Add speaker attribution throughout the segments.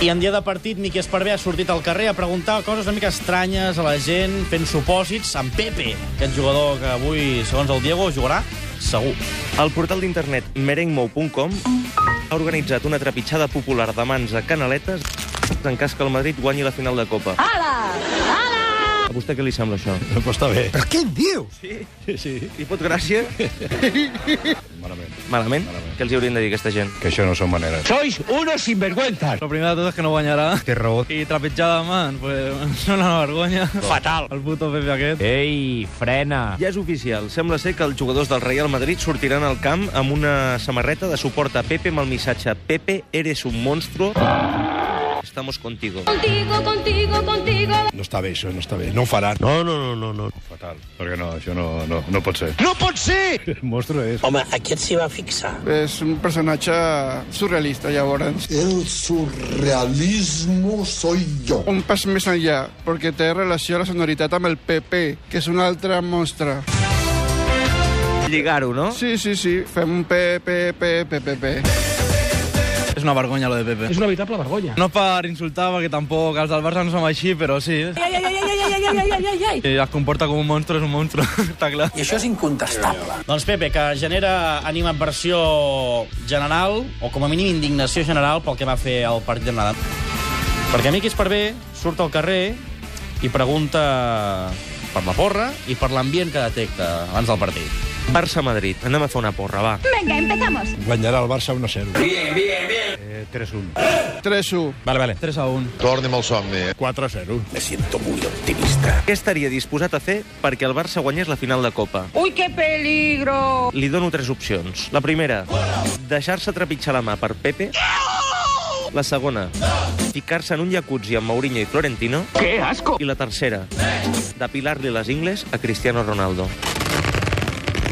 Speaker 1: I en dia de partit, Miqui Esparvé ha sortit al carrer a preguntar coses una mica estranyes a la gent, fent supòsits. En Pepe, aquest jugador que avui, segons el Diego, jugarà segur.
Speaker 2: El portal d'internet merenguemou.com ha organitzat una trepitjada popular de mans a canaletes en cas que el Madrid guanyi la final de Copa. Ala! Ala! A vostè què li sembla això?
Speaker 3: Però està bé.
Speaker 4: Però què en dius?
Speaker 2: Li pot gràcia?
Speaker 3: Malament.
Speaker 2: Malament? Què els hi haurien de dir, aquesta gent?
Speaker 3: Que això no són maneres.
Speaker 5: Sois unos sinvergüenzas.
Speaker 6: Lo primero de todo es que no guanyarà.
Speaker 4: Té raó.
Speaker 6: I trepitjada, man, pues, una vergonya.
Speaker 5: Fatal.
Speaker 6: El puto Pepe aquest.
Speaker 3: Eh.
Speaker 5: Ei, frena.
Speaker 2: Ja és oficial. Sembla ser que els jugadors del Real Madrid sortiran al camp amb una samarreta de suport a Pepe amb el missatge Pepe, eres un monstruo. Estamos contigo.
Speaker 7: Contigo, contigo, contigo.
Speaker 3: No està bé, això, no està bé. No ho faran.
Speaker 4: No, no, no, no, no.
Speaker 3: Fatal. Perquè no, això no, no, no pot ser.
Speaker 5: No pot ser!
Speaker 3: El monstru és...
Speaker 8: Home, aquest s'hi va fixar.
Speaker 9: És un personatge surrealista, llavors.
Speaker 10: El surrealismo soy yo.
Speaker 9: Un pas més enllà, perquè té relació a la sonoritat amb el PP, que és una altra mostra.
Speaker 2: Lligar-ho, no?
Speaker 9: Sí, sí, sí, fem un PPPPPP.
Speaker 6: És una vergonya, lo de Pepe.
Speaker 5: És una veritable vergonya.
Speaker 6: No per insultar, perquè tampoc els del Barça no som així, però sí. eh?
Speaker 7: Ay, ay, ay, ay, ay, ay, ay, ay, ay,
Speaker 6: I
Speaker 7: ay.
Speaker 6: es comporta com un monstru, és un monstru, està clar.
Speaker 8: I això és incontestable.
Speaker 1: Doncs Pepe, que genera animadversió general, o com a mínim indignació general, pel que va fer el partit de Nadal. Perquè Miqui Esparvé surt al carrer i pregunta per la porra i per l'ambient que detecta abans del partit.
Speaker 2: Barça-Madrid. Anem a fer una porra, va.
Speaker 7: Venga, empezamos.
Speaker 3: Guanyarà el Barça 1-0.
Speaker 8: Bien, bien, bien.
Speaker 3: Eh, 3-1.
Speaker 9: 3-1.
Speaker 6: Vale, vale. 3 a 1.
Speaker 3: eh. 4-0.
Speaker 8: Me siento muy optimista.
Speaker 2: Què estaria disposat a fer perquè el Barça guanyés la final de Copa?
Speaker 7: Uy, qué peligro.
Speaker 2: Li dono tres opcions. La primera, deixar-se trepitjar la mà per Pepe. La segona, ficar-se en un jacuzzi amb Mourinho i Florentino.
Speaker 5: Que asco.
Speaker 2: I la tercera, depilar-li les ingles a Cristiano Ronaldo.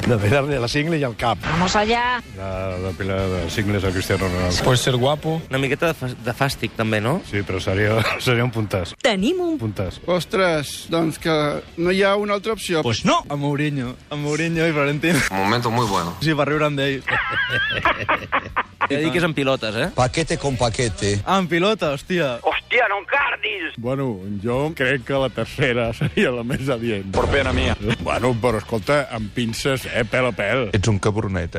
Speaker 3: De pegar-li a la cingle i al cap.
Speaker 7: Vamos allá.
Speaker 3: De, de pilar de cingles a Cristiano Ronaldo.
Speaker 4: Puede ser guapo.
Speaker 2: Una miqueta de, fas- de fàstic, també, no?
Speaker 3: Sí, però seria, seria un puntàs.
Speaker 7: Tenim un...
Speaker 3: Puntàs.
Speaker 9: Ostres, doncs que no hi ha una altra opció.
Speaker 6: Pues no. A Mourinho. A Mourinho i Florentino.
Speaker 8: Momento muy bueno.
Speaker 6: Sí, per riure amb d'ells.
Speaker 2: He de dir que és en pilotes, eh?
Speaker 4: Paquete con paquete.
Speaker 6: Ah, en pilota, hòstia.
Speaker 8: Hòstia, no encardis!
Speaker 3: Bueno, jo crec que la tercera seria la més adient. Por pena mía. Bueno, però escolta, amb pinces, eh, pèl a pèl.
Speaker 4: Ets un cabronet, eh?